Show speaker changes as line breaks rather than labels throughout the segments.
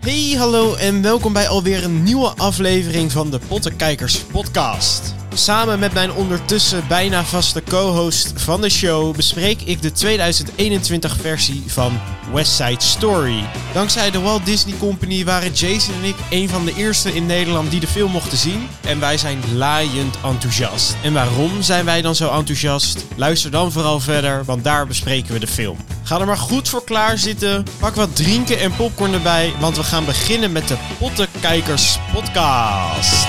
Hey, hallo en welkom bij alweer een nieuwe aflevering van de Pottenkijkers Podcast. Samen met mijn ondertussen bijna vaste co-host van de show bespreek ik de 2021 versie van West Side Story. Dankzij de Walt Disney Company waren Jason en ik een van de eerste in Nederland die de film mochten zien. En wij zijn laaiend enthousiast. En waarom zijn wij dan zo enthousiast? Luister dan vooral verder, want daar bespreken we de film. Ga er maar goed voor klaarzitten. Pak wat drinken en popcorn erbij, want we gaan beginnen met de Pottenkijkers Podcast.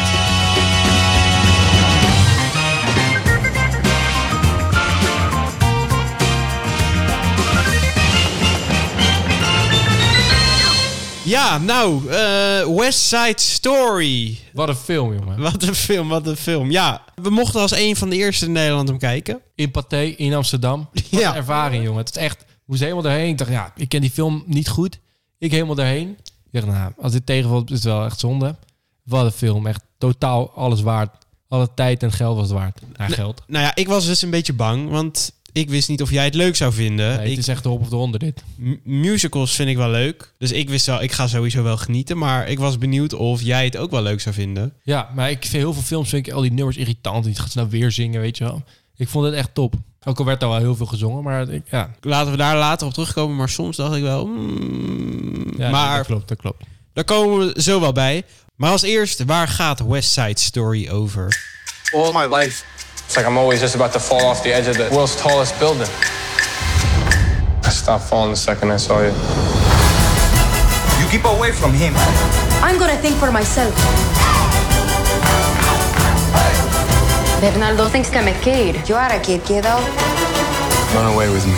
Ja, nou, eh, West Side Story.
Wat een film, jongen.
Wat een film, wat een film. Ja, we mochten als een van de eerste in Nederland hem kijken.
In Pathé, in Amsterdam. Wat
Ja.
een ervaring, jongen. Het is echt... Ik moest helemaal daarheen. Ik dacht, ja, ik ken die film niet goed. Ik helemaal daarheen. Ik dacht, nou, als dit tegenvalt, is het wel echt zonde. Wat een film. Echt totaal alles waard. Alle tijd en geld was het waard. Ja, geld.
Nou ja, ik was dus een beetje bang, want ik wist niet of jij het leuk zou vinden.
Nee, het
Eh, Ik-
is echt de hop of de onder, dit.
m- musicals vind ik wel leuk. Dus ik wist wel, ik ga sowieso wel genieten. Maar ik was benieuwd of jij het ook wel leuk zou vinden.
Ja, maar ik vind heel veel films, vind ik al die nummers irritant. Die gaat ze nou weer zingen, weet je wel. Ik vond het echt top. Ook al werd er wel heel veel gezongen, maar ik, ja.
Laten we daar later op terugkomen. Maar soms dacht ik wel. mm,
ja
maar
Dat klopt, dat klopt.
daar komen we zo wel bij. Maar als eerst, waar gaat West Side Story over?
all my life. It's like I'm always just about to fall off the edge of the world's tallest building. I stopped falling the second I saw you.
You keep away from him.
I'm gonna think for myself. Bernardo thinks I'm a kid. You are a kid, kiddo.
Run away with me.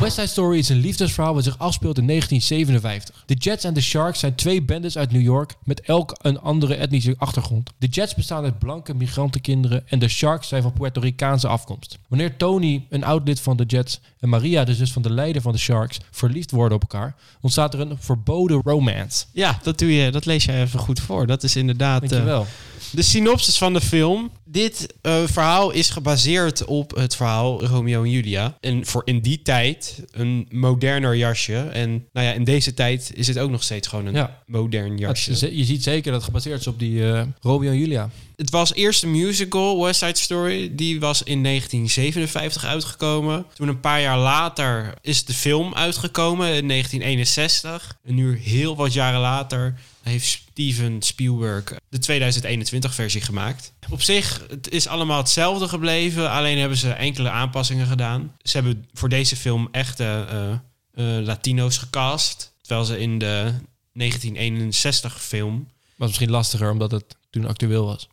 West Side Story is een liefdesverhaal wat zich afspeelt in 1957. De Jets en de Sharks zijn twee bendes uit New York met elk een andere etnische achtergrond. De Jets bestaan uit blanke migrantenkinderen en de Sharks zijn van Puerto Ricaanse afkomst. Wanneer Tony, een oud lid van de Jets, en Maria, de zus van de leider van de Sharks, verliefd worden op elkaar, ontstaat er een verboden romance.
Ja, dat, doe je, dat lees jij even goed voor. Dat is inderdaad. eh,
Dankjewel.
De synopsis van de film. Dit eh, verhaal is gebaseerd op het verhaal Romeo en Julia. En voor in die tijd een moderner jasje. En nou ja, in deze tijd is het ook nog steeds gewoon een
Ja.
modern
Het-
jasje.
je ziet zeker dat het gebaseerd is op die eh, Romeo en Julia.
Het was eerst een musical, West Side Story. Die was in 1957 uitgekomen. Toen een paar jaar later is de film uitgekomen in 1961. En nu heel wat jaren later heeft Steven Spielberg de 2021 versie gemaakt. Op zich, het is allemaal hetzelfde gebleven. Alleen hebben ze enkele aanpassingen gedaan. Ze hebben voor deze film echte eh, eh, Latino's gecast. Terwijl ze in de 1961 film
Was misschien lastiger omdat het toen actueel was.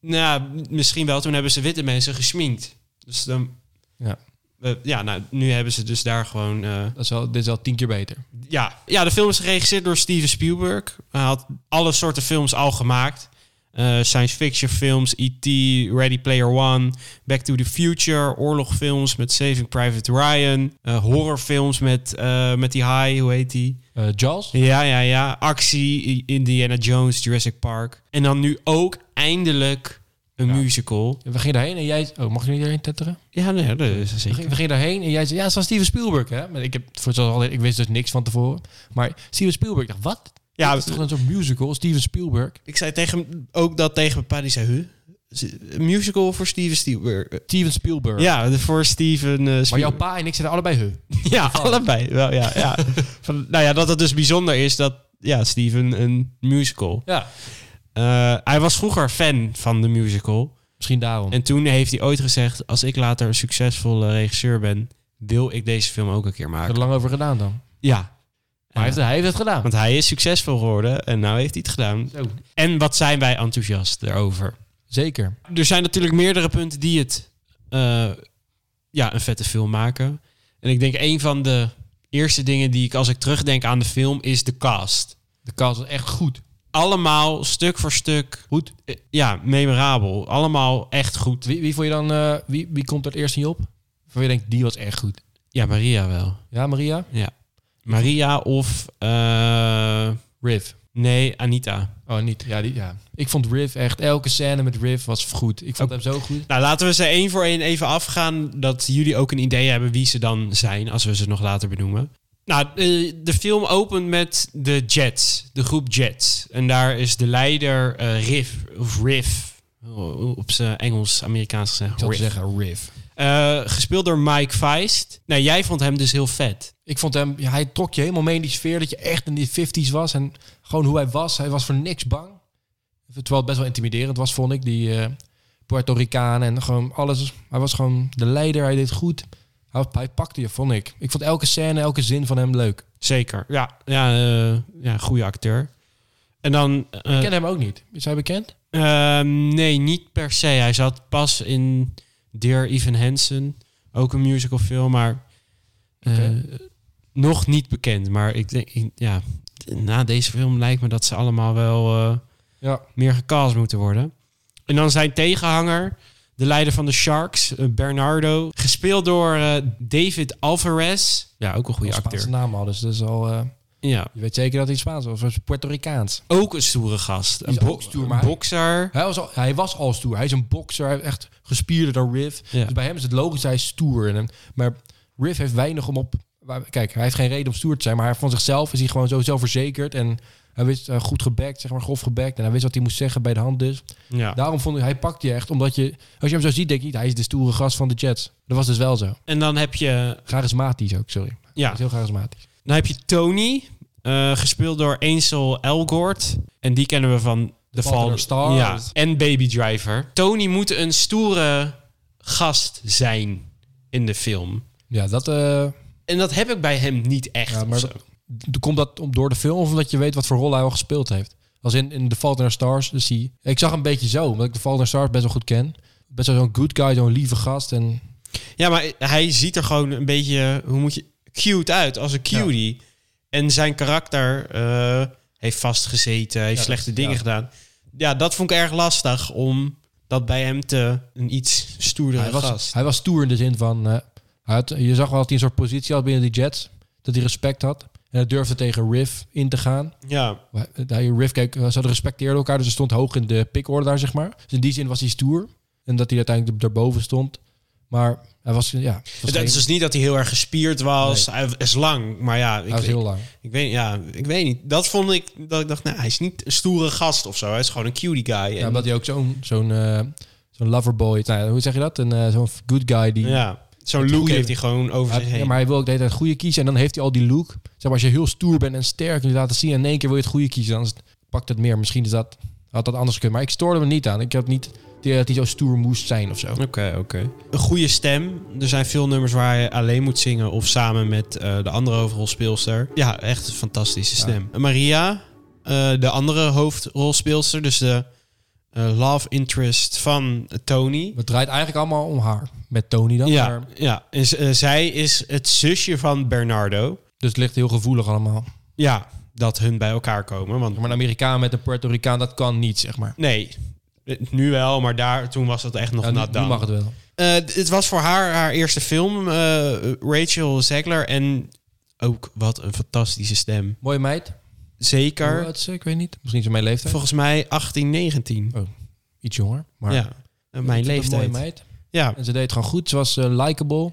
nou, ja, misschien wel. Toen hebben ze witte mensen gesminkt. Dus dan...
Ja.
eh, ja, nou, nu hebben ze dus daar gewoon... eh,
Dat is wel, dit is al tien keer beter.
ja. ja, de film is geregisseerd door Steven Spielberg. Hij had alle soorten films al gemaakt. Eh, science fiction films, E.T., Ready Player One, Back to the Future, oorlogfilms met Saving Private Ryan, eh, horrorfilms met, eh, met die high, hoe heet die?
Eh Jaws?
Ja, ja, ja. Actie, I- Indiana Jones, Jurassic Park. En dan nu ook eindelijk een musical.
We gingen daarheen en jij... Oh, mag je niet daarheen tetteren?
Ja, nee, dat is
We gingen- we gingen daarheen en jij zei, ja, het is van Steven Spielberg, hè? Maar ik, heb, voor zoals altijd, ik wist dus niks van tevoren. Maar Steven Spielberg, ik dacht, wat?
Ja,
Ja, dat is toch een soort musical, Steven Spielberg?
ik zei tegen hem, ook dat tegen mijn pa, die zei, huh? Is het Een musical voor Steven Spielberg.
Steven Spielberg.
Ja, de- voor Steven eh,
Maar jouw Oh.
Spielberg.
pa en ik zeiden allebei he.
ja, allebei. Wel, ja, ja. Van, nou ja, dat het dus bijzonder is dat ja, Steven een musical.
Ja,
Eh, hij was vroeger fan van de musical.
misschien daarom.
En toen heeft hij ooit gezegd, als ik later een succesvolle regisseur ben, wil ik deze film ook een keer
Ik heb
maken.
er lang over gedaan dan. Maar
Ja, Eh,
hij, heeft, hij heeft het gedaan.
want hij is succesvol geworden en nou heeft hij het gedaan.
Zo.
En wat zijn wij enthousiast daarover?
Zeker.
er zijn natuurlijk meerdere punten die het eh, ja, een vette film maken. En ik denk een van de eerste dingen die ik als ik terugdenk aan de film is de cast.
De cast was echt goed.
Allemaal stuk voor stuk goed. eh, ja, memorabel. Allemaal echt goed.
Wie, wie vond je dan... eh, wie, wie komt er het eerst niet op? Waarvan je denkt, die was echt goed.
Ja, Maria wel.
Ja, Maria?
Ja. Maria of eh,
Riff.
nee, Anita.
Oh, niet. Ja, die, ja. Ik vond Riff echt... Elke scène met Riff was goed. Ik vond hem zo goed.
Nou, laten we ze één voor één even afgaan. Dat jullie ook een idee hebben wie ze dan zijn, als we ze nog later benoemen. Nou, eh, de film opent met de Jets, de groep Jets. En daar is de leider eh, Riff, of Riff, oh, op zijn Engels-Amerikaans gezegd.
Ik zou
Riff.
zeggen Riff.
Eh, gespeeld door Mike Feist. Nou, jij vond hem dus heel vet.
Ik vond hem, ja, hij trok je helemaal mee in die sfeer dat je echt in die 50s was. En gewoon hoe hij was. Hij was voor niks bang. Terwijl het best wel intimiderend was, vond ik. Die eh, Puerto Ricaan en gewoon alles. Hij was gewoon de leider. Hij deed goed. Hij, hij pakte je, vond ik. Ik vond elke scène, elke zin van hem leuk.
Zeker. Ja, ja, eh, ja goede acteur. En dan... eh,
Ik ken hem ook niet. Is hij bekend?
Ehm, nee, niet per se. Hij zat pas in Dear Evan Hansen. Ook een musical film, maar eh, nog niet bekend. Maar ik denk, ik- ja, na deze film lijkt me dat ze allemaal wel eh,
Ja.
meer gecast moeten worden. En dan zijn tegenhanger, de leider van de Sharks, eh, Bernardo. Gespeeld door eh, David Alvarez. Ja, ook een goede
Als
acteur.
Spaanse naam hadden ze. Dus al, eh,
Ja,
je weet zeker dat hij Spaans was. Of Puerto Ricaans.
ook een stoere gast. Een,
is ook
bo-
stoer,
een
maar hij-
bokser.
Hij was, al, hij was al stoer. Hij is een bokser. Hij is echt gespierder dan Riff.
Ja.
Dus bij hem is het logisch, hij is stoer. En, hem- maar Riff heeft weinig om op... waar- Kijk, hij heeft geen reden om stoer te zijn. Maar hij- van zichzelf is hij gewoon zo zelfverzekerd. En hij wist eh, goed gebackt, zeg maar grof gebackt. En hij wist wat hij moest zeggen bij de hand dus.
Ja.
Daarom vond ik, hij pakt je echt. Omdat je, als je hem zo ziet, denk je niet... Hij is de stoere gast van de Jets. Dat was dus wel zo.
En dan heb je
Charismatisch ook, sorry.
Ja.
Hij is heel charismatisch.
Dan heb je Tony, eh, gespeeld door Ansel Elgort. En die kennen we van The
Fault in
Fall.
Our Stars.
Ja, en Baby Driver. Tony moet een stoere gast zijn in de film.
Ja, dat... eh,
En dat heb ik bij hem niet echt.
Ja,
of
maar
zo.
dat- d- komt dat om- door de film of omdat je weet wat voor rol hij al gespeeld heeft? Als in, in The Fault in Our Stars, dus die, ik zag hem een beetje zo, omdat ik The Fault in Our Stars best wel goed ken. Best wel zo'n good guy, zo'n lieve gast. En
ja, maar hij ziet er gewoon een beetje, hoe moet je, cute uit, als een cutie. En zijn karakter eh, heeft vastgezeten, heeft
dat-
slechte dingen
ja.
gedaan. Ja, dat vond ik erg lastig om dat bij hem te een iets stoerdere
hij,
gast.
was, hij was stoer in de zin van, eh, hij had, je zag wel dat hij een soort positie had binnen die Jets. Dat hij respect had. En hij durfde tegen Riff in te gaan.
ja.
Maar Hij, Riff keek, ze hadden respecteerden elkaar, dus hij stond hoog in de pickorde daar, zeg maar. Dus in die zin was hij stoer. En dat hij uiteindelijk daarboven stond. Maar hij was, ja... was
Het
geen-
is dus niet dat hij heel erg gespierd was. Hij is lang, maar ja, ik,
hij was heel lang.
ik weet, ja, ik weet niet. Dat vond ik dat ik dacht, nou, hij is niet een stoere gast of zo. Hij is gewoon een cutie guy. En-
Ja, omdat hij ook zo'n zo'n eh, zo'n loverboy, nou, hoe zeg je dat? Een eh, zo'n good guy die.
ja, zo'n
het
look
goede-
heeft hij gewoon over
Hij-
zich heen.
ja, maar hij wil ook de hele tijd het goede kiezen en dan heeft hij al die look. Zeg maar, als je heel stoer bent en sterk en je laat het zien en in één keer wil je het goede kiezen, dan is het- pakt het meer. Misschien is dat, had dat anders gekund. Maar ik stoorde me niet aan. Ik had niet het idee dat hij zo stoer moest zijn of zo.
Oké, oké. Een goede stem. Er zijn veel nummers waar je alleen moet zingen of samen met eh, de andere hoofdrolspeelster. Ja, echt een fantastische stem. Maria, eh, de andere hoofdrolspeelster, dus de eh, love interest van Tony.
Het draait eigenlijk allemaal om haar. Met Tony dan.
Ja,
maar-
ja. En z- eh, zij is het zusje van Bernardo.
dus het ligt heel gevoelig allemaal.
Ja, dat hun bij elkaar komen. Want
Maar een Amerikaan met een Puerto Ricaan, dat kan niet, zeg maar.
nee, eh, nu wel, maar daar, toen was dat echt nog
Ja, nu,
nat Eh,
nu mag het wel.
Het was voor haar haar eerste film, eh, Rachel Zegler. En ook wat een fantastische stem.
Mooie meid.
Zeker,
Hoe oud is ze? Ik weet niet. Misschien zijn mijn leeftijd.
volgens mij 18, 19.
Oh, iets jonger. Maar
ja, eh, mijn
Ik vond het een
leeftijd.
Mooie meid.
Ja,
En ze deed het gewoon goed. Ze was eh, likable.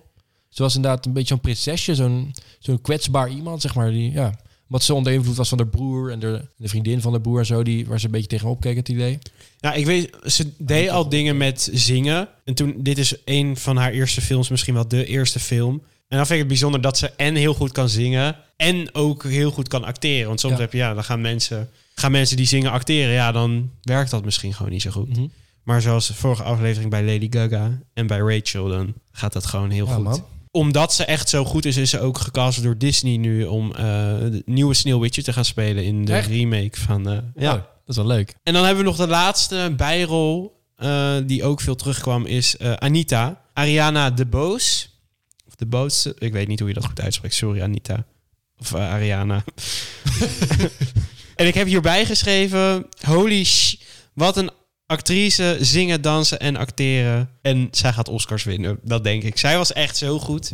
Ze was inderdaad een beetje zo'n prinsesje. Zo'n zo'n kwetsbaar iemand, zeg maar. Die, ja. Wat ze onder invloed was van haar broer en de, de vriendin van de broer en zo. Die, waar ze een beetje tegenop keek, het idee.
Nou, ik weet, ze deed al dingen met zingen. En toen, dit is een van haar eerste films, misschien wel de eerste film. En dan vind ik het bijzonder dat ze en heel goed kan zingen. En ook heel goed kan acteren. Want soms
Ja.
heb je, ja, dan gaan mensen, gaan mensen die zingen acteren. Ja, dan werkt dat misschien gewoon niet zo goed.
Mhm.
Maar zoals de vorige aflevering bij Lady Gaga en bij Rachel, dan gaat dat gewoon heel
Ja,
goed.
man.
Omdat ze echt zo goed is, is ze ook gecast door Disney nu om eh, de nieuwe Sneeuwwitje te gaan spelen in de
Echt?
remake van... eh, ja.
Oh, dat is wel leuk.
En dan hebben we nog de laatste bijrol eh, die ook veel terugkwam, is eh, Anita. Ariana de Boos. Of de Boos, ik weet niet hoe je dat goed uitspreekt. Sorry, Anita. Of eh, Ariana. en ik heb hierbij geschreven, holy sh... Wat een actrice, zingen, dansen en acteren. En zij gaat Oscars winnen, dat denk ik. Zij was echt zo goed.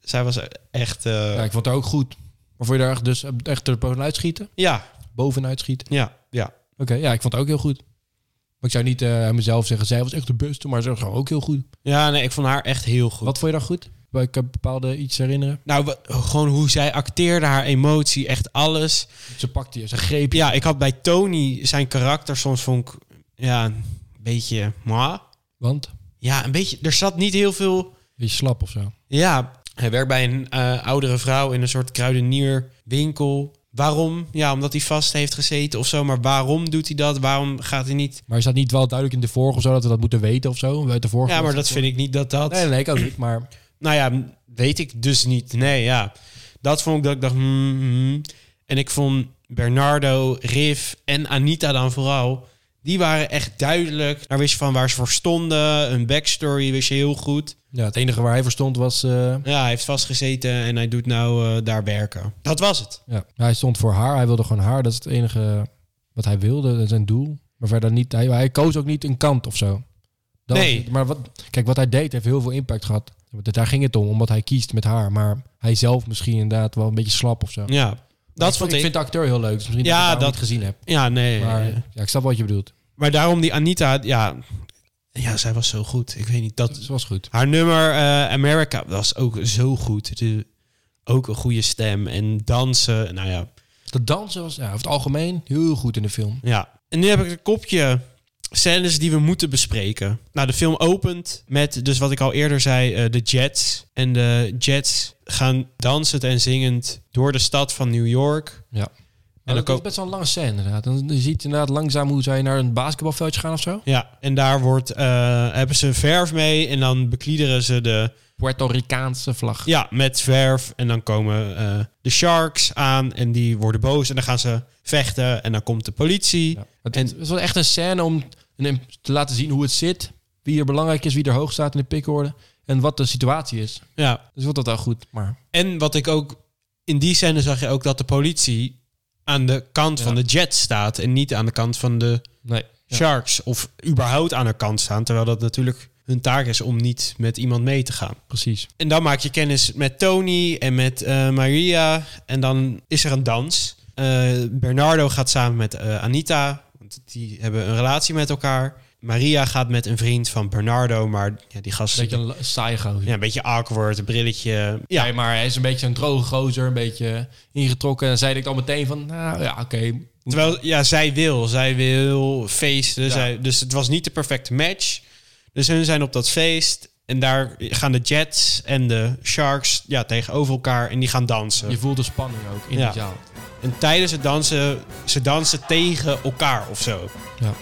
Zij was echt... eh,
Ja, ik vond haar ook goed. Maar vond je daar echt, dus echt er bovenuit schieten?
ja,
Bovenuit schieten?
ja, ja.
Oké, ja, ik vond haar ook heel goed. Maar ik zou niet eh, aan mezelf zeggen, zij was echt de beste. Maar ze was gewoon ook heel goed.
Ja, nee, ik vond haar echt heel goed.
Wat vond je daar goed? waar ik eh, bepaalde iets herinneren?
Nou, wa- gewoon hoe zij acteerde, haar emotie, echt alles.
Ze pakte je, ze greep je.
Ja, ik had bij Tony zijn karakter soms vond ik ja, een beetje moi.
Want
Ja, een beetje. Er zat niet heel veel.
je slap of zo.
Ja, hij werkt bij een eh, oudere vrouw in een soort kruidenierwinkel. Waarom? Ja, omdat hij vast heeft gezeten of zo. Maar waarom doet hij dat? Waarom gaat hij niet?
Maar is dat niet wel duidelijk in de vorige of zo dat we dat moeten weten of zo? Uit de vorige
Ja, maar dat vind ik niet dat dat.
Nee, nee, ik ook niet. Maar
Nou ja, m- weet ik dus niet. Nee, ja. Dat vond ik dat ik dacht. hmm, hmm. En ik vond Bernardo, Riff en Anita dan vooral. Die waren echt duidelijk. Daar wist je van waar ze voor stonden. Een backstory wist je heel goed.
ja, het enige waar hij verstond was... eh,
Ja, hij heeft vastgezeten en hij doet nou eh, daar werken. Dat was het.
ja. Hij stond voor haar, hij wilde gewoon haar. Dat is het enige wat hij wilde, dat is zijn doel. Maar verder niet, hij, hij koos ook niet een kant of zo. Dat
Nee.
was het. maar wat, kijk, wat hij deed heeft heel veel impact gehad. Want Daar ging het om, omdat hij kiest met haar. Maar hij zelf misschien inderdaad wel een beetje slap of zo.
Ja, dat
ik,
vond ik.
vind de acteur heel leuk. Dus misschien
Ja,
dat ik het
dat-
daarom niet gezien heb.
Ja, nee.
Maar
Maar,
ja, ik snap wat je bedoelt.
daarom die Anita, ja, ja, zij was zo goed. Ik weet niet,
Het
dat...
was goed.
Haar nummer eh, America was ook zo goed. De, ook een goede stem en dansen. Nou ja,
De dansen was ja, over het algemeen heel goed in de film.
Ja. En nu heb ik een kopje scènes die we moeten bespreken. Nou, de film opent met, dus wat ik al eerder zei, eh, de Jets. En de Jets gaan dansend en zingend door de stad van New York.
Ja.
dan
En dat
ko-
is best wel een lange scène inderdaad. Dan je ziet inderdaad langzaam hoe zij naar een basketbalveldje gaan of zo.
Ja, en daar wordt, eh, hebben ze verf mee en dan bekliederen ze de...
Puerto Ricaanse vlag.
Ja, met verf. En dan komen eh, de Sharks aan en die worden boos. En dan gaan ze vechten en dan komt de politie.
Ja. Het,
En-
het was wel echt een scène om een- te laten zien hoe het zit. Wie er belangrijk is, wie er hoog staat in de pickorde. En wat de situatie is.
ja.
Dus wat dat wel goed. Maar
En wat ik ook in die scène zag je ook dat de politie aan de kant van de Jets staat en niet aan de kant van de
nee. Ja.
Sharks of überhaupt aan haar kant staan, terwijl dat natuurlijk hun taak is om niet met iemand mee te gaan.
Precies.
En dan maak je kennis met Tony en met eh, Maria en dan is er een dans. Eh, Bernardo gaat samen met eh, Anita, want die hebben een relatie met elkaar. Maria gaat met een vriend van Bernardo, maar ja, die gast
Een beetje een la- saaie gozer.
ja, een beetje awkward, een brilletje. Ja,
Nee, maar hij is een beetje een droge gozer. Een beetje ingetrokken. En dan zei ik al meteen van, nou ja, oké.
Terwijl, ja, zij wil. Zij wil feesten. Zij, dus het was niet de perfecte match. Dus hun zijn op dat feest. En daar gaan de Jets en de Sharks ja, tegenover elkaar. En die gaan dansen.
Je voelt de spanning ook in
Ja.
die zaal.
En tijdens het dansen, ze dansen tegen elkaar of zo.
Ja.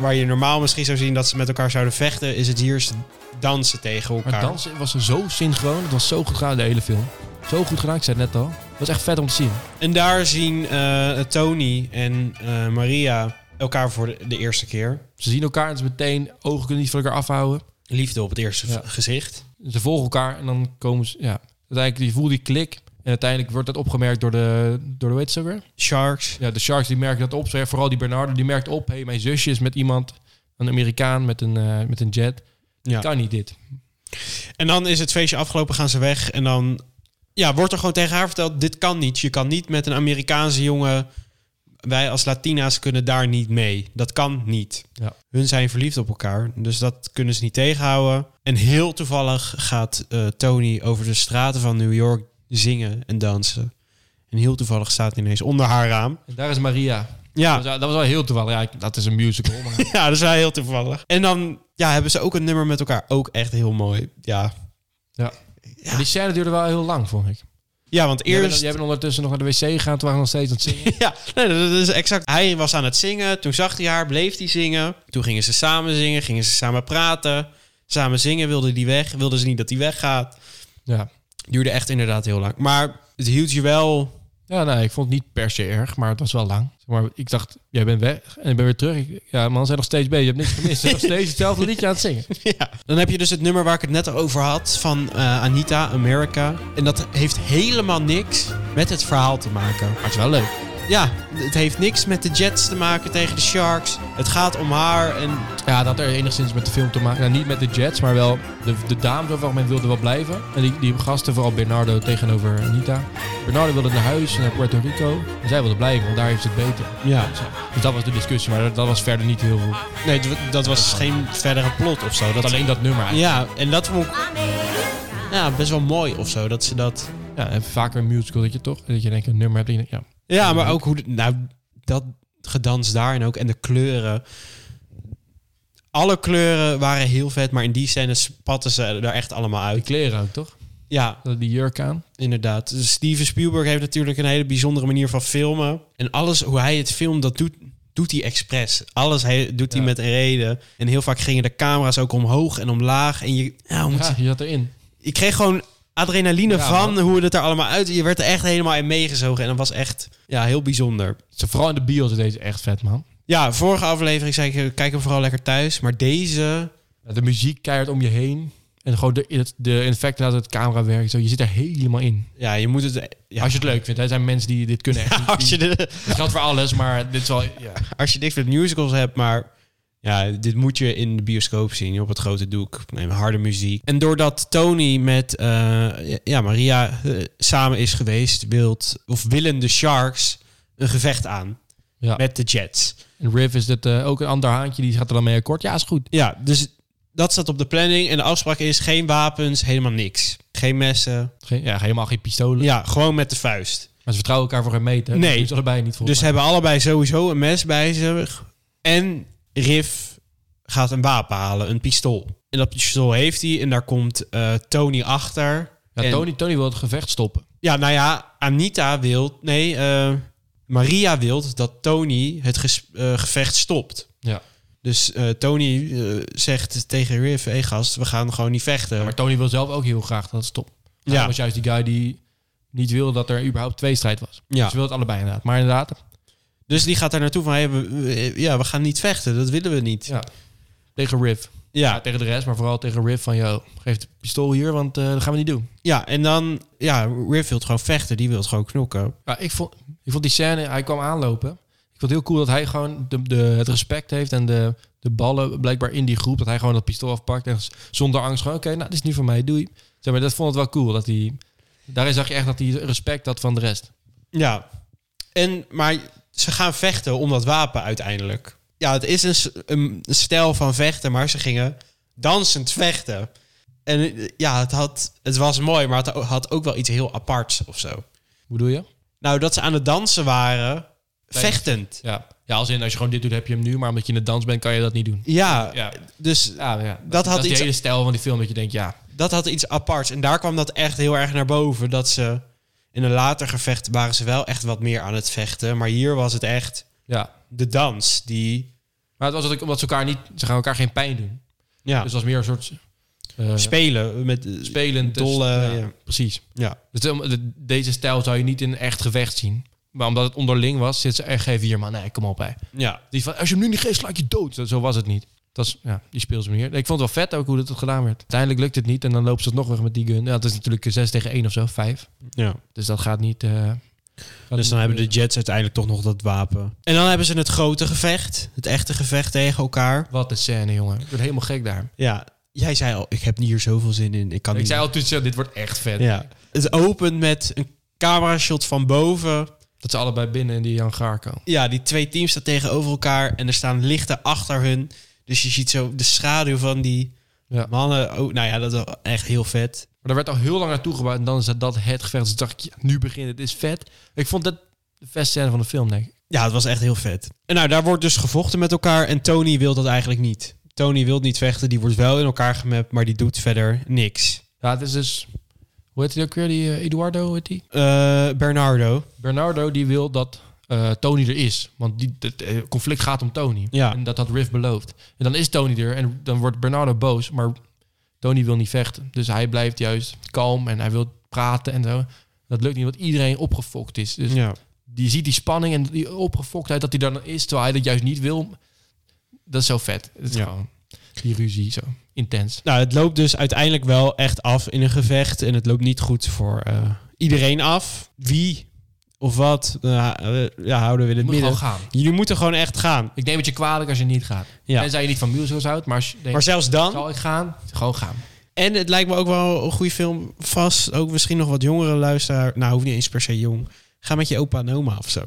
Waar je normaal misschien zou zien dat ze met elkaar zouden vechten, is het hier ze dansen tegen elkaar.
Maar dansen was zo synchroon. Het was zo goed gedaan, de hele film. Zo goed gedaan, ik zei het net al. Het was echt vet om te zien.
En daar zien eh, Tony en eh, Maria elkaar voor de, de eerste keer.
Ze zien elkaar en ze meteen ogen kunnen niet van elkaar afhouden.
Liefde op het eerste
Ja.
v- gezicht.
Ze volgen elkaar en dan komen ze... Ja, uiteindelijk je voelt die klik. En uiteindelijk wordt dat opgemerkt door de... Door de weet je zo weer?
Sharks.
Ja, de Sharks die merken dat op. Zo, ja, Vooral die Bernardo die merkt op. Hé, hey, mijn zusje is met iemand. Een Amerikaan met een, eh, met een jet.
Ja.
Kan niet dit.
En dan is het feestje afgelopen, gaan ze weg. En dan ja, wordt er gewoon tegen haar verteld: dit kan niet. Je kan niet met een Amerikaanse jongen. Wij als Latina's kunnen daar niet mee. Dat kan niet.
Ja.
Hun zijn verliefd op elkaar, dus dat kunnen ze niet tegenhouden. En heel toevallig gaat eh, Tony over de straten van New York zingen en dansen. En heel toevallig staat hij ineens onder haar raam.
En daar is Maria. Dat, was,
Ja,
dat was wel heel toevallig. Ja, ik- dat is een musical. Maar
ja dat is wel heel toevallig. En dan ja, hebben ze ook een nummer met elkaar. Ook echt heel mooi. Ja,
Maar die scène duurde wel heel lang, vond ik.
ja want
Jij,
eerst...
bent, jij bent ondertussen nog naar de wc gegaan, toen waren we nog steeds aan het zingen.
Ja, nee, dat is exact. Hij was aan het zingen, toen zag hij haar, bleef hij zingen. Toen gingen ze samen zingen, gingen ze samen praten. Samen zingen wilde die weg, wilden ze niet dat hij weggaat.
ja.
Duurde echt inderdaad heel lang. Maar het hield je wel...
ja, nee, ik vond het niet per se erg, maar het was wel lang. Zeg Maar ik dacht, jij bent weg en ik ben weer terug. Ik- ja, man, ze zijn nog steeds bezig. Je hebt niks gemist. Ze zijn nog steeds hetzelfde liedje aan het zingen.
Ja. Dan heb je dus het nummer waar ik het net over had van eh, Anita, America. En dat heeft helemaal niks met het verhaal te maken.
Maar het is wel leuk.
Ja, het heeft niks met de Jets te maken tegen de Sharks. Het gaat om haar en
Ja, dat had er enigszins met de film te maken. Nou, niet met de Jets, maar wel de, de dames over het algemeen wilden wel blijven. En die, die gasten, vooral Bernardo tegenover Anita. Bernardo wilde naar huis, naar Puerto Rico. En zij wilde blijven, want daar heeft ze het beter.
Ja.
Zo. Dus dat was de discussie, maar dat, dat was verder niet heel veel.
nee, dat was geen verdere plot of zo. Dat
Alleen dat nummer eigenlijk.
Ja, en dat vond ik ja, best wel mooi of zo dat ze dat.
Ja, en vaker een musical dat je toch, dat je denkt een nummer hebt. die je denkt, ja.
Ja, maar ook hoe. de- Nou, dat gedans daar en ook. En de kleuren. Alle kleuren waren heel vet, maar in die scène spatten ze er echt allemaal
Die
uit.
kleren ook toch?
Ja,
Die jurk aan.
inderdaad. Dus Steven Spielberg heeft natuurlijk een hele bijzondere manier van filmen. En alles hoe hij het filmt, dat doet, doet hij expres. Alles hij, doet hij
Ja.
met een reden. En heel vaak gingen de camera's ook omhoog en omlaag. En je, ja, hoe moet
Ja, je zat erin.
ik kreeg gewoon adrenaline
Ja,
van
man.
hoe het er allemaal uit. Je werd er echt helemaal in meegezogen. En dat was echt ja, heel bijzonder.
Ze, vooral in de bios is deze echt vet, man.
Ja, vorige aflevering zei ik, eh, kijk hem vooral lekker thuis. Maar deze,
Ja, De muziek keihard om je heen. En gewoon de, het- de effecten dat het camera werkt. Zo, je zit er helemaal in.
ja, je moet het... eh, Ja,
Als je het leuk vindt. Er zijn mensen die dit kunnen echt.
als je, de,
Het geldt voor alles, maar dit is wel... Ja.
als je niks met musicals hebt, maar... Ja, dit moet je in de bioscoop zien, op het grote doek. Met harde muziek. En doordat Tony met eh, ja, Maria eh, samen is geweest... Wilt, of willen de Sharks een gevecht aan
Ja.
met de Jets.
En Riff is dat, eh, ook een ander haantje, die gaat er dan mee akkoord. Ja, is goed.
Ja, dus dat staat op de planning. En de afspraak is geen wapens, helemaal niks. Geen messen.
Geen, ja, helemaal geen pistolen.
Ja, gewoon met de vuist.
Maar ze vertrouwen elkaar voor geen meter.
Nee.
Dus allebei niet volgens
Dus
mij.
hebben allebei sowieso een mes bij zich. En Riff gaat een wapen halen, een pistool. En dat pistool heeft hij en daar komt eh, Tony achter.
Ja,
En-
Tony, Tony wil het gevecht stoppen.
Ja, nou ja, Anita wil... Nee, eh, Maria wil dat Tony het ges- eh, gevecht stopt.
Ja.
Dus eh, Tony eh, zegt tegen Riff... Hé hey gast, we gaan gewoon niet vechten.
Maar Tony wil zelf ook heel graag dat het stopt. Ja.
Ja.
was juist die guy die niet wil dat er überhaupt twee strijd was.
Ja.
Dus Ze wil het allebei inderdaad. Maar inderdaad,
Dus die gaat daar naartoe van, hey, we- we- ja, we gaan niet vechten, dat willen we niet. Ja,
ja. tegen Riff. Ja,
ja,
tegen de rest, maar vooral tegen Riff van... Yo, geef het pistool hier, want eh, dat gaan we niet doen.
en dan, ja, Riff wil gewoon vechten, die wil gewoon knokken.
Ja, ik, vond, ik vond die scène, hij kwam aanlopen. Ik vond het heel cool dat hij gewoon de, de, het respect heeft en de, de ballen blijkbaar in die groep. Dat hij gewoon dat pistool afpakt en z- zonder angst gewoon, oké, nou, dit is nu voor mij, doei. Zeg maar, dat vond het wel cool. Dat hij, daarin zag je echt dat hij respect had van de rest.
Ja, en, maar ze gaan vechten om dat wapen uiteindelijk. Ja, het is een, s- een stijl van vechten, maar ze gingen dansend vechten. En eh, ja, het, had, het was mooi, maar het had ook wel iets heel aparts of zo.
Hoe bedoel je?
Nou, dat ze aan het dansen waren,
Tijdens-
vechtend.
Ja. ja, als in als je gewoon dit doet, heb je hem nu. Maar omdat je in de dans bent, kan je dat niet doen.
Ja,
Ja.
dus
Ja, ja.
Dat
dat
had
is
iets-
de hele stijl van die film. Dat je denkt, ja,
dat had iets aparts. En daar kwam dat echt heel erg naar boven. Dat ze in een later gevecht waren ze wel echt wat meer aan het vechten. Maar hier was het echt
ja.
de dans die
Maar het was ook omdat ze elkaar niet... Ze gaan elkaar geen pijn doen.
ja,
Dus het was meer een soort... eh,
spelen met eh,
spelend. dus-
dolle.
ja,
ja.
Precies.
Ja.
Dus de- de- deze stijl zou je niet in een echt gevecht zien. Maar omdat het onderling was, zit ze echt even hier, man. Nee, kom op, hè.
Ja.
Die van, als je hem nu niet geeft, sla ik je dood. Zo- Zo was het niet. Dat is, ja, die speelsmanier. Ik vond het wel vet ook hoe dat het gedaan werd. Uiteindelijk lukt het niet en dan loopt ze het nog weg met die gun. Ja, het is natuurlijk 6 tegen 1 of zo, 5.
ja.
Dus dat gaat niet... eh, gaat
Dus
niet
dan hebben de
gebeuren.
Jets uiteindelijk toch nog dat wapen. En dan hebben ze het grote gevecht. Het echte gevecht tegen elkaar.
Wat een scène, jongen. Ik word helemaal gek daar.
Ja. Jij zei al, ik heb hier zoveel zin in. Ik kan
Ik
niet.
zei al toen, zo, dit wordt echt vet.
ja. Het opent met een camera shot van boven.
Dat ze allebei binnen in die hangar komen.
ja, die twee teams staan tegenover elkaar en er staan lichten achter hun. Dus je ziet zo de schaduw van die
Ja.
mannen. Oh, nou ja, dat is wel echt heel vet.
Maar daar werd al heel lang naartoe gebouwd. En dan is dat- dat het gevecht. Dus dacht ik, ja, nu begint het. Het is vet. Ik vond dat de beste scène van de film, denk ik.
Ja, het was echt heel vet. En nou, daar wordt dus gevochten met elkaar en Tony wil dat eigenlijk niet. Tony wil niet vechten, die wordt wel in elkaar gemapt, maar die doet verder niks.
Ja, het is dus... Hoe heet hij ook weer? Die eh, Eduardo, hoe heet die?
Eh, Bernardo.
Bernardo, die wil dat eh, Tony er is. Want die, het eh, conflict gaat om Tony.
Ja.
En dat had Riff beloofd. En dan is Tony er en dan wordt Bernardo boos. Maar Tony wil niet vechten. Dus hij blijft juist kalm en hij wil praten en zo. Dat lukt niet, want iedereen opgefokt is. Dus
Ja.
die ziet die spanning en die opgefoktheid dat hij daar dan is, terwijl hij dat juist niet wil. Dat is zo vet. Het is
Ja.
gewoon die ruzie, zo intens.
Nou, het loopt dus uiteindelijk wel echt af in een gevecht. En het loopt niet goed voor eh, iedereen af. Wie of wat, eh, eh, ja, houden we in
Je
het
moet gewoon
midden.
gaan.
Jullie moeten gewoon echt gaan.
Ik neem het je kwalijk als je niet gaat.
Ja.
En zij je niet van musicals houdt, maar als je denkt,
Maar zelfs dan
zal ik gaan? Gewoon gaan.
En het lijkt me ook wel een goede film. Vast ook misschien nog wat jongere luisteraar. Nou, hoeft niet eens per se jong. Ga met je opa en oma of zo.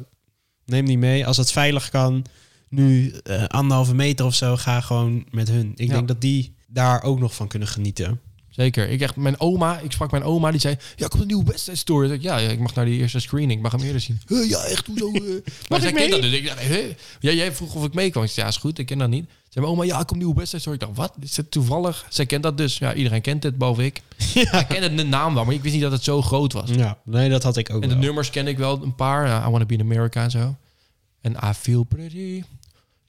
Neem die mee. Als dat veilig kan. Nu eh, anderhalve meter of zo. Ga gewoon met hun. Ik
Ja.
denk dat die daar ook nog van kunnen genieten.
Zeker. Ik echt, mijn oma, ik sprak mijn oma, die zei, ja, komt een nieuwe West Side Story. Ik zei, ja, ja, ik mag naar die eerste screening, ik mag hem eerder zien. "Huh, ja, echt, hoezo? eh?" maar zij kent dat dus. Ik dacht, "Huh?" ja, jij vroeg of ik mee kwam. Ik zei, ja, is goed, ik ken dat niet. Zei mijn oma, ja, komt een nieuwe West Side Story. Ik dacht, wat? Is het toevallig? Zij kent dat dus. Ja, iedereen kent het, behalve ik. Ik ken het de naam wel, maar ik wist niet dat het zo groot was.
Ja, nee, dat had ik ook
En de
wel.
nummers ken ik wel een paar. Ja, I Wanna Be in America en zo. En I Feel Pretty.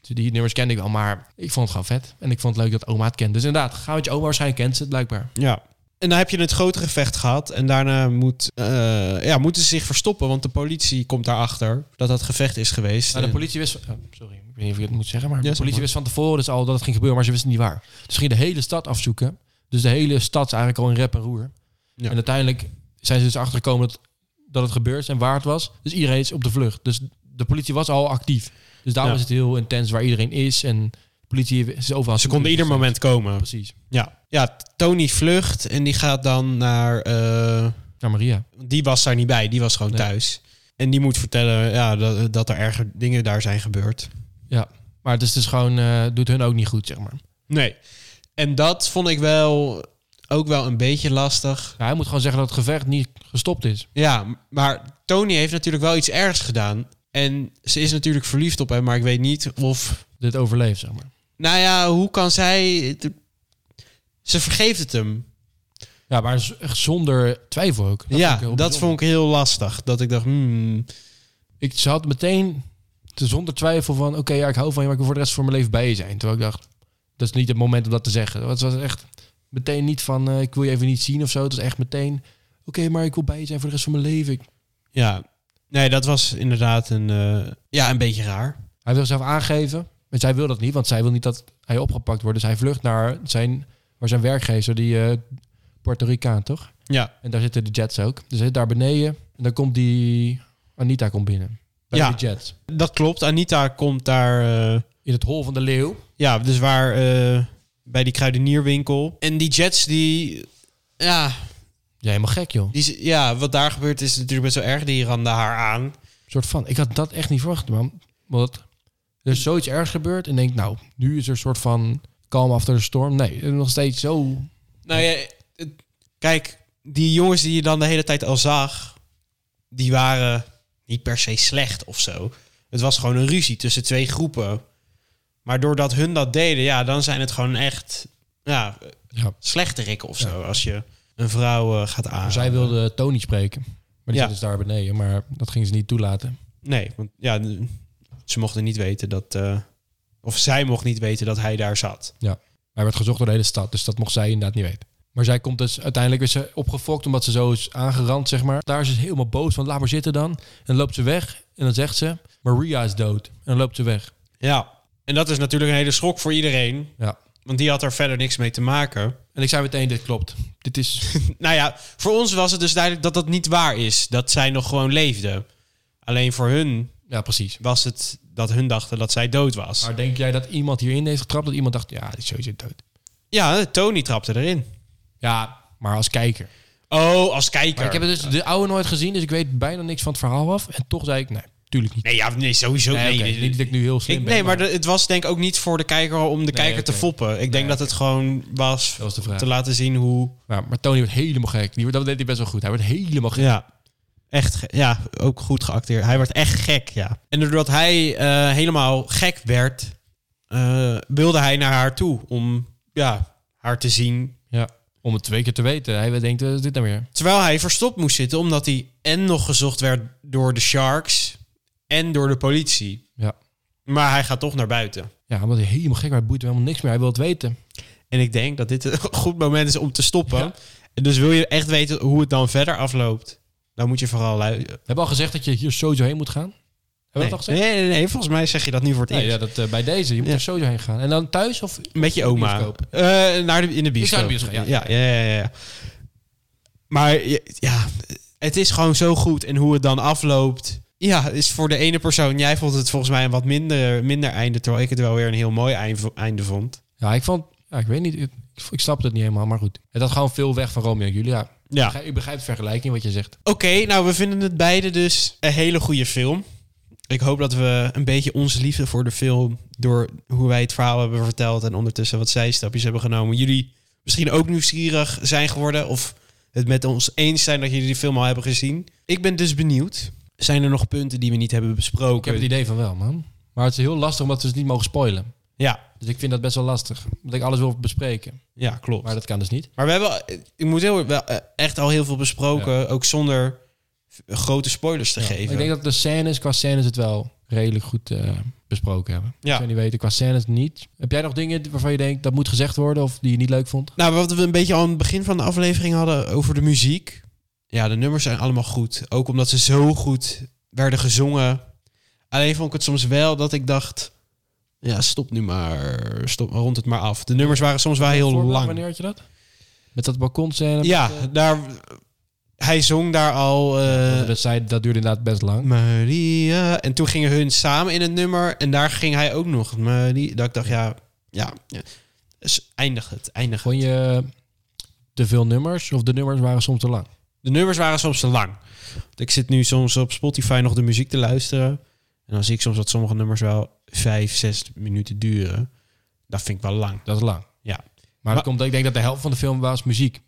Dus Die nummers kende ik wel, maar ik vond het gewoon vet. En ik vond het leuk dat oma het kent. Dus inderdaad, ga met je oma, waarschijnlijk kent ze het blijkbaar.
Ja. En dan heb je het grotere gevecht gehad. En daarna moet, eh, ja, moeten ze zich verstoppen. Want de politie komt daarachter dat dat gevecht is geweest.
Nou, de
En-
politie wist... oh, sorry, ik weet niet of ik het moet zeggen, maar
Ja,
de
zeg
politie
maar.
wist van tevoren dus al dat het ging gebeuren, maar ze wisten niet waar. Dus ze gingen de hele stad afzoeken. Dus de hele stad is eigenlijk al in rep en roer.
Ja.
En uiteindelijk zijn ze dus achtergekomen dat, dat het gebeurd is en waar het was. Dus iedereen is op de vlucht. Dus de politie was al actief. Dus daarom
Ja.
is het heel intens waar iedereen is. En de politie is overal... aan het
ze
zoeken.
konden ieder moment komen.
Precies.
Ja. ja, Tony vlucht en die gaat dan naar... eh,
Naar Maria.
die was daar niet bij, die was gewoon
Nee.
thuis. En die moet vertellen ja, dat, dat er erger dingen daar zijn gebeurd.
Ja. Maar het is dus gewoon... eh, doet hun ook niet goed, zeg maar.
Nee. En dat vond ik wel ook wel een beetje lastig.
Ja, hij moet gewoon zeggen dat het gevecht niet gestopt is.
Ja, maar Tony heeft natuurlijk wel iets ergs gedaan. En ze is natuurlijk verliefd op hem, maar ik weet niet of
Dit overleeft, zeg maar.
Nou ja, hoe kan zij. Ze vergeeft het hem.
Ja, maar z- echt zonder twijfel ook.
ja,
heel
dat
bijzonder.
vond ik heel lastig. Dat ik dacht, hmm.
ik... Ze had meteen te- zonder twijfel van... Oké, ja, ik hou van je, maar ik wil voor de rest van mijn leven bij je zijn. Terwijl ik dacht, dat is niet het moment om dat te zeggen. Het was echt meteen niet van... eh, ik wil je even niet zien of zo. Het was echt meteen... Oké, maar ik wil bij je zijn voor de rest van mijn leven. Ik-
Ja. Nee, dat was inderdaad een. eh, ja, een beetje raar.
Hij wil zelf aangeven. En zij wil dat niet, want zij wil niet dat hij opgepakt wordt. Dus hij vlucht naar zijn, waar zijn werkgever, die eh, Puerto Ricaan, toch?
Ja.
En daar zitten de Jets ook. Dus hij zit daar beneden. En dan komt die... Anita komt binnen. Bij
Ja.
de Jets.
Dat klopt. Anita komt daar. eh,
In het hol van de leeuw.
ja, dus waar. eh, bij die kruidenierwinkel. En die Jets, die. Ja,
Ja, helemaal gek, joh.
die, z- ja, wat daar gebeurt is natuurlijk best wel erg. Die randen haar aan.
soort van. Ik had dat echt niet verwacht, man. Want er is zoiets ergs gebeurd. En denk, nou, nu is er een soort van kalm after de storm. Nee, nog steeds zo...
Nou ja, het- kijk, die jongens die je dan de hele tijd al zag, die waren niet per se slecht of zo. Het was gewoon een ruzie tussen twee groepen. Maar doordat hun dat deden, ja, dan zijn het gewoon echt ja,
Ja.
slechterikken of zo. Als je een vrouw eh, gaat aan.
Zij wilde Tony spreken. Maar die
Ja.
zit dus daar beneden. Maar dat gingen ze niet toelaten.
Nee, want ja, ze mochten niet weten dat. eh, of zij mocht niet weten dat hij daar zat.
Ja. Hij werd gezocht door de hele stad, dus dat mocht zij inderdaad niet weten. Maar zij komt dus uiteindelijk weer ze opgefokt omdat ze zo is aangerand, zeg maar. Daar is ze helemaal boos van, laat maar zitten dan. En dan loopt ze weg en dan zegt ze, Maria is dood. En dan loopt ze weg.
Ja, en dat is natuurlijk een hele schok voor iedereen.
Ja.
Want die had er verder niks mee te maken.
En ik zei meteen, dit klopt. Dit is...
Nou ja, voor ons was het dus duidelijk dat dat niet waar is. Dat zij nog gewoon leefde. Alleen voor hun
ja, precies.
was het dat hun dachten dat zij dood was.
Maar denk jij dat iemand hierin heeft getrapt? Dat iemand dacht, ja, die is sowieso dood.
Ja, Tony trapte erin.
Ja, maar als kijker.
Oh, als kijker.
Maar ik heb dus de oude nooit gezien, dus ik weet bijna niks van het verhaal af. En toch zei ik, nee, tuurlijk niet.
Nee, ja, nee, sowieso
Nee,
nee.
oké,
dit-
niet dat ik nu heel slim
ik,
ben.
nee, maar de- het was denk ik ook niet voor de kijker om de kijker te
oké.
foppen. Ik denk dat het gewoon was,
was de
om
vraag.
te laten zien hoe...
Ja, maar Tony werd helemaal gek. Die, dat deed hij best wel goed. Hij werd helemaal gek.
Ja. Echt, ge- ja, ook goed geacteerd. Hij werd echt gek, ja. En doordat hij eh, helemaal gek werd, eh, wilde hij naar haar toe om ja, haar te zien.
Ja, om het twee keer te weten. Hij denkt, wat is dit nou weer?
Terwijl hij verstopt moest zitten, omdat hij en nog gezocht werd door de Sharks en door de politie.
Ja.
Maar hij gaat toch naar buiten.
Ja, omdat hij helemaal gek werd, het boeit hem helemaal niks meer. Hij wil het weten.
En ik denk dat dit een goed moment is om te stoppen.
Ja.
En dus wil je echt weten hoe het dan verder afloopt, dan moet je vooral luisteren.
Hebben we al gezegd dat je hier sowieso heen moet gaan? Hebben we
Nee.
dat al gezegd?
nee, nee, nee, volgens mij zeg je dat nu voor het
Nee,
eerst.
ja, dat, eh, bij deze. Je moet
Ja.
er sowieso heen gaan. En dan thuis of...
Met je oma.
Bioscoop.
Eh, naar de, in de bioscoop.
naar de bioscoop, ja.
Ja, ja, ja, ja, ja. Maar je- ja, het is gewoon zo goed. En hoe het dan afloopt... Ja, is voor de ene persoon... Jij vond het volgens mij een wat minder, minder einde... terwijl ik het wel weer een heel mooi eind- einde vond.
Ja, ik vond... Ja, ik weet niet. Ik, ik snap het niet helemaal, maar goed. Het had gewoon veel weg van Romeo en Julia. Ik
Ja.
begrijp- Ik begrijp de vergelijking wat je zegt.
Oké, nou, we vinden het beide dus een hele goede film. Ik hoop dat we een beetje onze liefde voor de film... door hoe wij het verhaal hebben verteld... en ondertussen wat zijstapjes hebben genomen... jullie misschien ook nieuwsgierig zijn geworden. Of het met ons eens zijn dat jullie die film al hebben gezien. Ik ben dus benieuwd. Zijn er nog punten die we niet hebben besproken?
Ik heb het idee van wel, man. Maar het is heel lastig omdat we het niet mogen spoilen.
Ja,
Dus ik vind dat best wel lastig. Omdat ik alles wil bespreken.
ja, klopt.
Maar
Maar,
dat kan dus niet.
we hebben, ik moet heel, wel, eh, echt al heel veel besproken. Ook zonder v- grote spoilers te geven.
Ik denk dat de scènes, qua scènes het wel redelijk goed eh, besproken hebben.
Ja.
Ik zou niet weten, qua scènes niet. Heb jij nog dingen waarvan je denkt dat moet gezegd worden of die je niet leuk vond?
Nou, wat we een beetje al aan het begin van de aflevering hadden over de muziek. Ja, de nummers zijn allemaal goed. Ook omdat ze zo goed werden gezongen. Alleen vond ik het soms wel dat ik dacht... Ja, stop nu maar. Stop, rond het maar af. De nummers waren soms wel heel
Voorbeeld,
lang.
Wanneer had je dat? Met dat balkonscène?
Ja, daar, hij zong daar al... eh,
dat, zei, dat duurde inderdaad best lang.
Maria. En toen gingen hun samen in het nummer. En daar ging hij ook nog. Maria. Dat ik dacht, ja... ja, ja. Dus eindig het, eindig het.
Vond je te veel nummers of de nummers waren soms te lang?
De nummers waren soms te lang. Want ik zit nu soms op Spotify nog de muziek te luisteren. En dan zie ik soms dat sommige nummers wel vijf, zes minuten duren. Dat vind ik wel lang.
Dat is lang.
Ja,
Maar,
Maar-
dat komt, ik denk dat de helft van de film was muziek.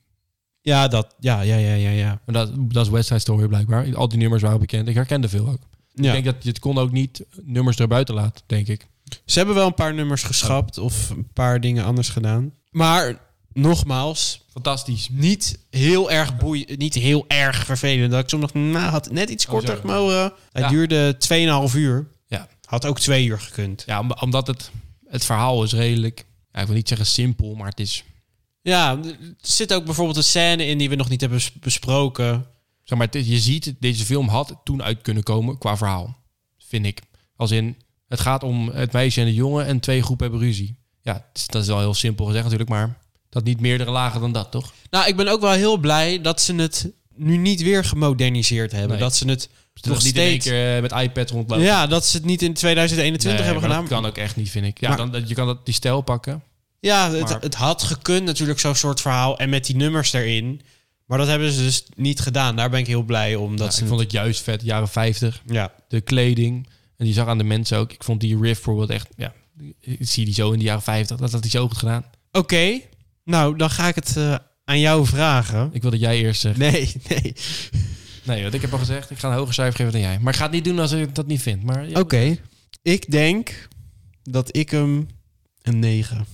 ja dat. Ja, ja, ja, ja, ja.
Maar dat, dat is West Side Story blijkbaar. Al die nummers waren bekend. Ik herkende veel ook.
ja.
Ik denk dat je het kon ook niet nummers erbuiten laat, denk ik.
Ze hebben wel een paar nummers geschrapt of een paar dingen anders gedaan. Maar nogmaals,
Fantastisch.
niet heel erg boeiend, niet heel erg vervelend. Dat ik soms nog na had net iets korter
Oh, zo.
mogen. Hij
Ja.
duurde 2,5 uur.
Ja,
Had ook twee uur gekund.
ja om- omdat het, het verhaal is redelijk... Ja, ik wil niet zeggen simpel, maar het is...
Ja, er zit ook bijvoorbeeld een scène in die we nog niet hebben bes- besproken.
Zeg maar, het is- je ziet, het, deze film had toen uit kunnen komen qua verhaal. Vind ik. Als in, het gaat om het meisje en de jongen en twee groepen hebben ruzie. Ja, het is- dat is wel heel simpel gezegd natuurlijk, maar... Dat niet meerdere lagen dan dat, toch?
Nou, ik ben ook wel heel blij dat ze het nu niet weer gemoderniseerd hebben.
Nee.
Dat ze het
Dat
nog
niet in één
steeds...
keer eh, met iPad rondlopen.
Ja, dat ze het niet in 2021
Nee,
hebben
maar
gedaan.
Dat kan ook echt niet, vind ik. Ja,
Maar-
dan, dat- je kan dat, die stijl pakken.
Ja, het,
Maar-
het had gekund natuurlijk zo'n soort verhaal. En met die nummers erin. Maar dat hebben ze dus niet gedaan. Daar ben ik heel blij om. Dat
Ja,
ze
ik vond het juist vet, jaren 50.
Ja.
De kleding. En die zag aan de mensen ook. Ik vond die riff bijvoorbeeld echt... Ja, ik zie die zo in de jaren 50. Dat had hij zo goed gedaan.
Oké, nou dan ga ik het eh, aan jou vragen.
Ik wil dat jij eerst eh, zegt.
Nee, nee.
Nee, want ik heb al gezegd. Ik ga een hoger cijfer geven dan jij. Maar ik ga het niet doen als ik dat niet vind. Maar ja,
Oké, ik denk dat ik hem een 9.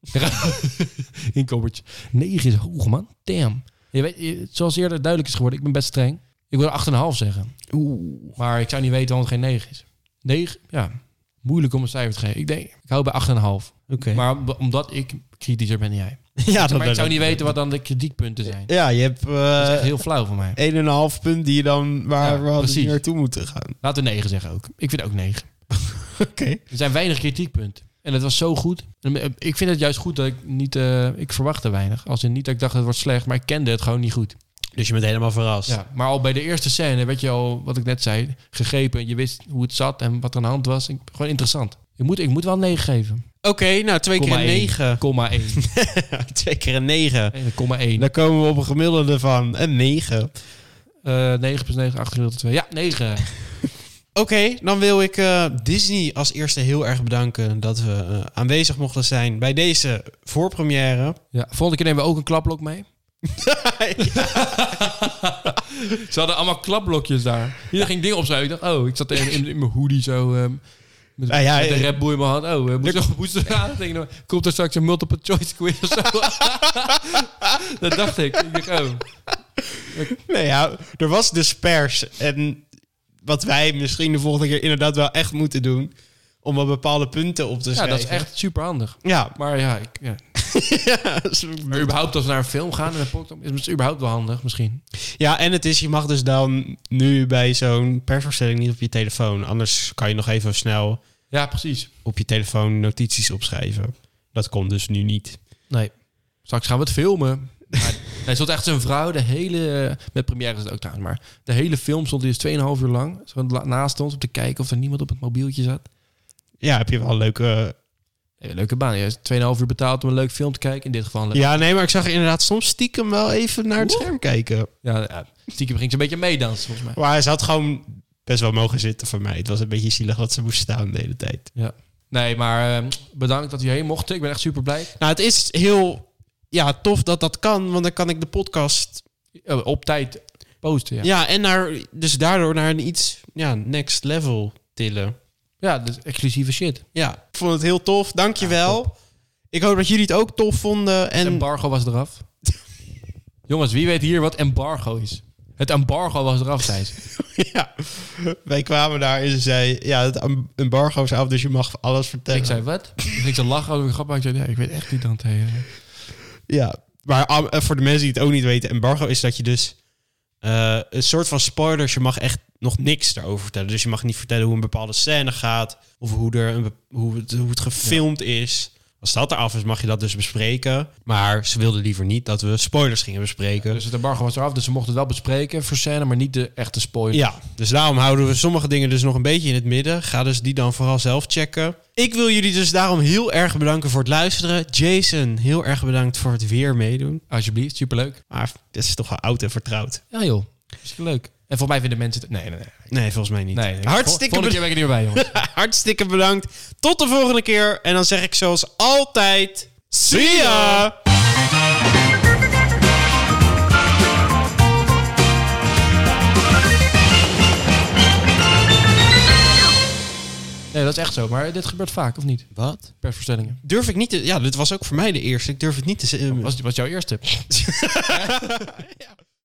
9,1. in koppertje. 9 is hoog, man. Damn. Je weet, je- zoals eerder duidelijk is geworden, ik ben best streng. Ik wil 8,5 zeggen.
Oeh.
Maar ik zou niet weten waarom het geen 9 is. 9, ja. Moeilijk om een cijfer te geven. Ik denk, ik hou bij 8,5.
Oké.
Maar om- omdat ik kritischer ben dan jij.
Ja,
maar ik zou niet weten wat dan de kritiekpunten zijn.
Ja, je hebt
Dat is
eh,
echt heel flauw van mij.
1,5 punt die je dan waar
Ja,
we hadden
precies.
naartoe moeten gaan.
Laten we 9 zeggen ook. Ik vind ook 9.
Oké.
Er zijn weinig kritiekpunten. En het was zo goed. En, eh, Ik vind het juist goed dat ik niet... eh, ik verwachtte weinig. Als in niet dat ik dacht het wordt slecht, maar ik kende het gewoon niet goed.
Dus je bent helemaal verrast.
Ja, maar al bij de eerste scène werd je al, wat ik net zei, gegrepen. Je wist hoe het zat en wat er aan de hand was. Ik- Gewoon interessant. Ik moet, ik moet wel 9 geven.
Oké, nou twee keer
Komma
een
één.
9.
Komma 1.
twee keer een 9.
9,1.
Daar komen we op een gemiddelde van een 9. Oké,
Eh 9 plus 9, 8 gedeeld door 2. Ja, 9.
dan wil ik eh, Disney als eerste heel erg bedanken dat we eh, aanwezig mochten zijn bij deze voorpremière.
Ja, volgende keer nemen we ook een klapblok mee.
Ja.
Ze hadden allemaal klapblokjes daar. Iedereen ging dingen opschrijven. Ik dacht, oh, ik zat in, in, in mijn hoodie zo... ehm, met,
Nou ja,
met een
eh,
rapboei in mijn hand. Oh, eh, moet je nog moesten gaan? Denk ik nou, Komt er straks een multiple choice quiz of zo? dat dacht ik. Ik dacht, oh.
Nou ja, er was dus pers. En wat wij misschien de volgende keer inderdaad wel echt moeten doen. Om wel bepaalde punten op te
Ja,
schrijven.
dat is echt super handig.
Ja,
Maar ja, ik, ja. Maar überhaupt als we naar een film gaan en een podcast, is het überhaupt wel handig misschien.
Ja, en het is, je mag dus dan nu bij zo'n persvoorstelling niet op je telefoon. Anders kan je nog even snel
Ja, precies.
op je telefoon notities opschrijven. Dat kon dus nu niet.
Nee. Straks gaan we het filmen. Maar, nee, stond echt zijn vrouw de hele... eh, Met première is het ook trouwens, maar... De hele film stond dus 2,5 uur lang zo la- naast ons om te kijken of er niemand op het mobieltje zat.
Ja, heb je wel een leuke...
Nee, leuke baan. Je is 2,5 uur betaald om een leuk film te kijken. In dit geval een leuk-
Ja, nee, maar ik zag inderdaad soms stiekem wel even naar het scherm kijken.
Ja, ja, stiekem ging ze een beetje meedansen volgens mij.
Maar ze had gewoon best wel mogen zitten voor mij. Het was een beetje zielig dat ze moest staan de hele tijd.
ehm, Ja. Nee, maar eh, bedankt dat u heen mocht. Ik ben echt super blij.
Nou, het is heel ja, tof dat dat kan, want dan kan ik de podcast...
Eh, Op tijd posten, ja.
Ja, en naar, dus daardoor naar een iets ja, next level tillen.
Ja, dat is exclusieve shit.
Ja, ik vond het heel tof. Dankjewel. ik hoop dat jullie het ook tof vonden. En
Embargo was eraf. Jongens, wie weet hier wat embargo is? Het embargo was eraf, zei ze.
ja, wij kwamen daar en ze zei... Ja, het em- embargo is af, dus je mag alles vertellen.
Ik zei, wat? Dus ik zei, lachen over een grap. maar Ik zei, nee, ik weet echt niet aan het heen.
Ja, maar am- eh, voor de mensen die het ook niet weten, embargo is dat je dus eh, een soort van spoilers, je mag echt nog niks daarover vertellen. Dus je mag niet vertellen hoe een bepaalde scène gaat of hoe, er een, be- hoe, het, hoe het gefilmd is. Als dat eraf is, mag je dat dus bespreken. Maar ze wilden liever niet dat we spoilers gingen bespreken.
Dus het embargo was eraf, dus ze mochten het wel bespreken voor scène, maar niet de echte spoiler.
Ja, dus daarom houden we sommige dingen dus nog een beetje in het midden. Ga dus die dan vooral zelf checken. Ik wil jullie dus daarom heel erg bedanken voor het luisteren. Jason, heel erg bedankt voor het weer meedoen.
Alsjeblieft, superleuk.
Maar dat is toch wel oud en vertrouwd.
Ja joh, hartstikke leuk. En volgens mij vinden mensen het... Nee, nee, nee.
Nee, volgens mij niet.
nee, nee.
hartstikke,
Volgende keer ben ik er niet meer bij, jongens.
beda- hartstikke bedankt. Tot de volgende keer. En dan zeg ik zoals altijd... See ya!
Nee, dat is echt zo. Maar dit gebeurt vaak, of niet?
Wat?
Persverstellingen.
Durf ik niet te... Ja, dit was ook voor mij de eerste. Ik durf het niet te...
Was, was jouw eerste?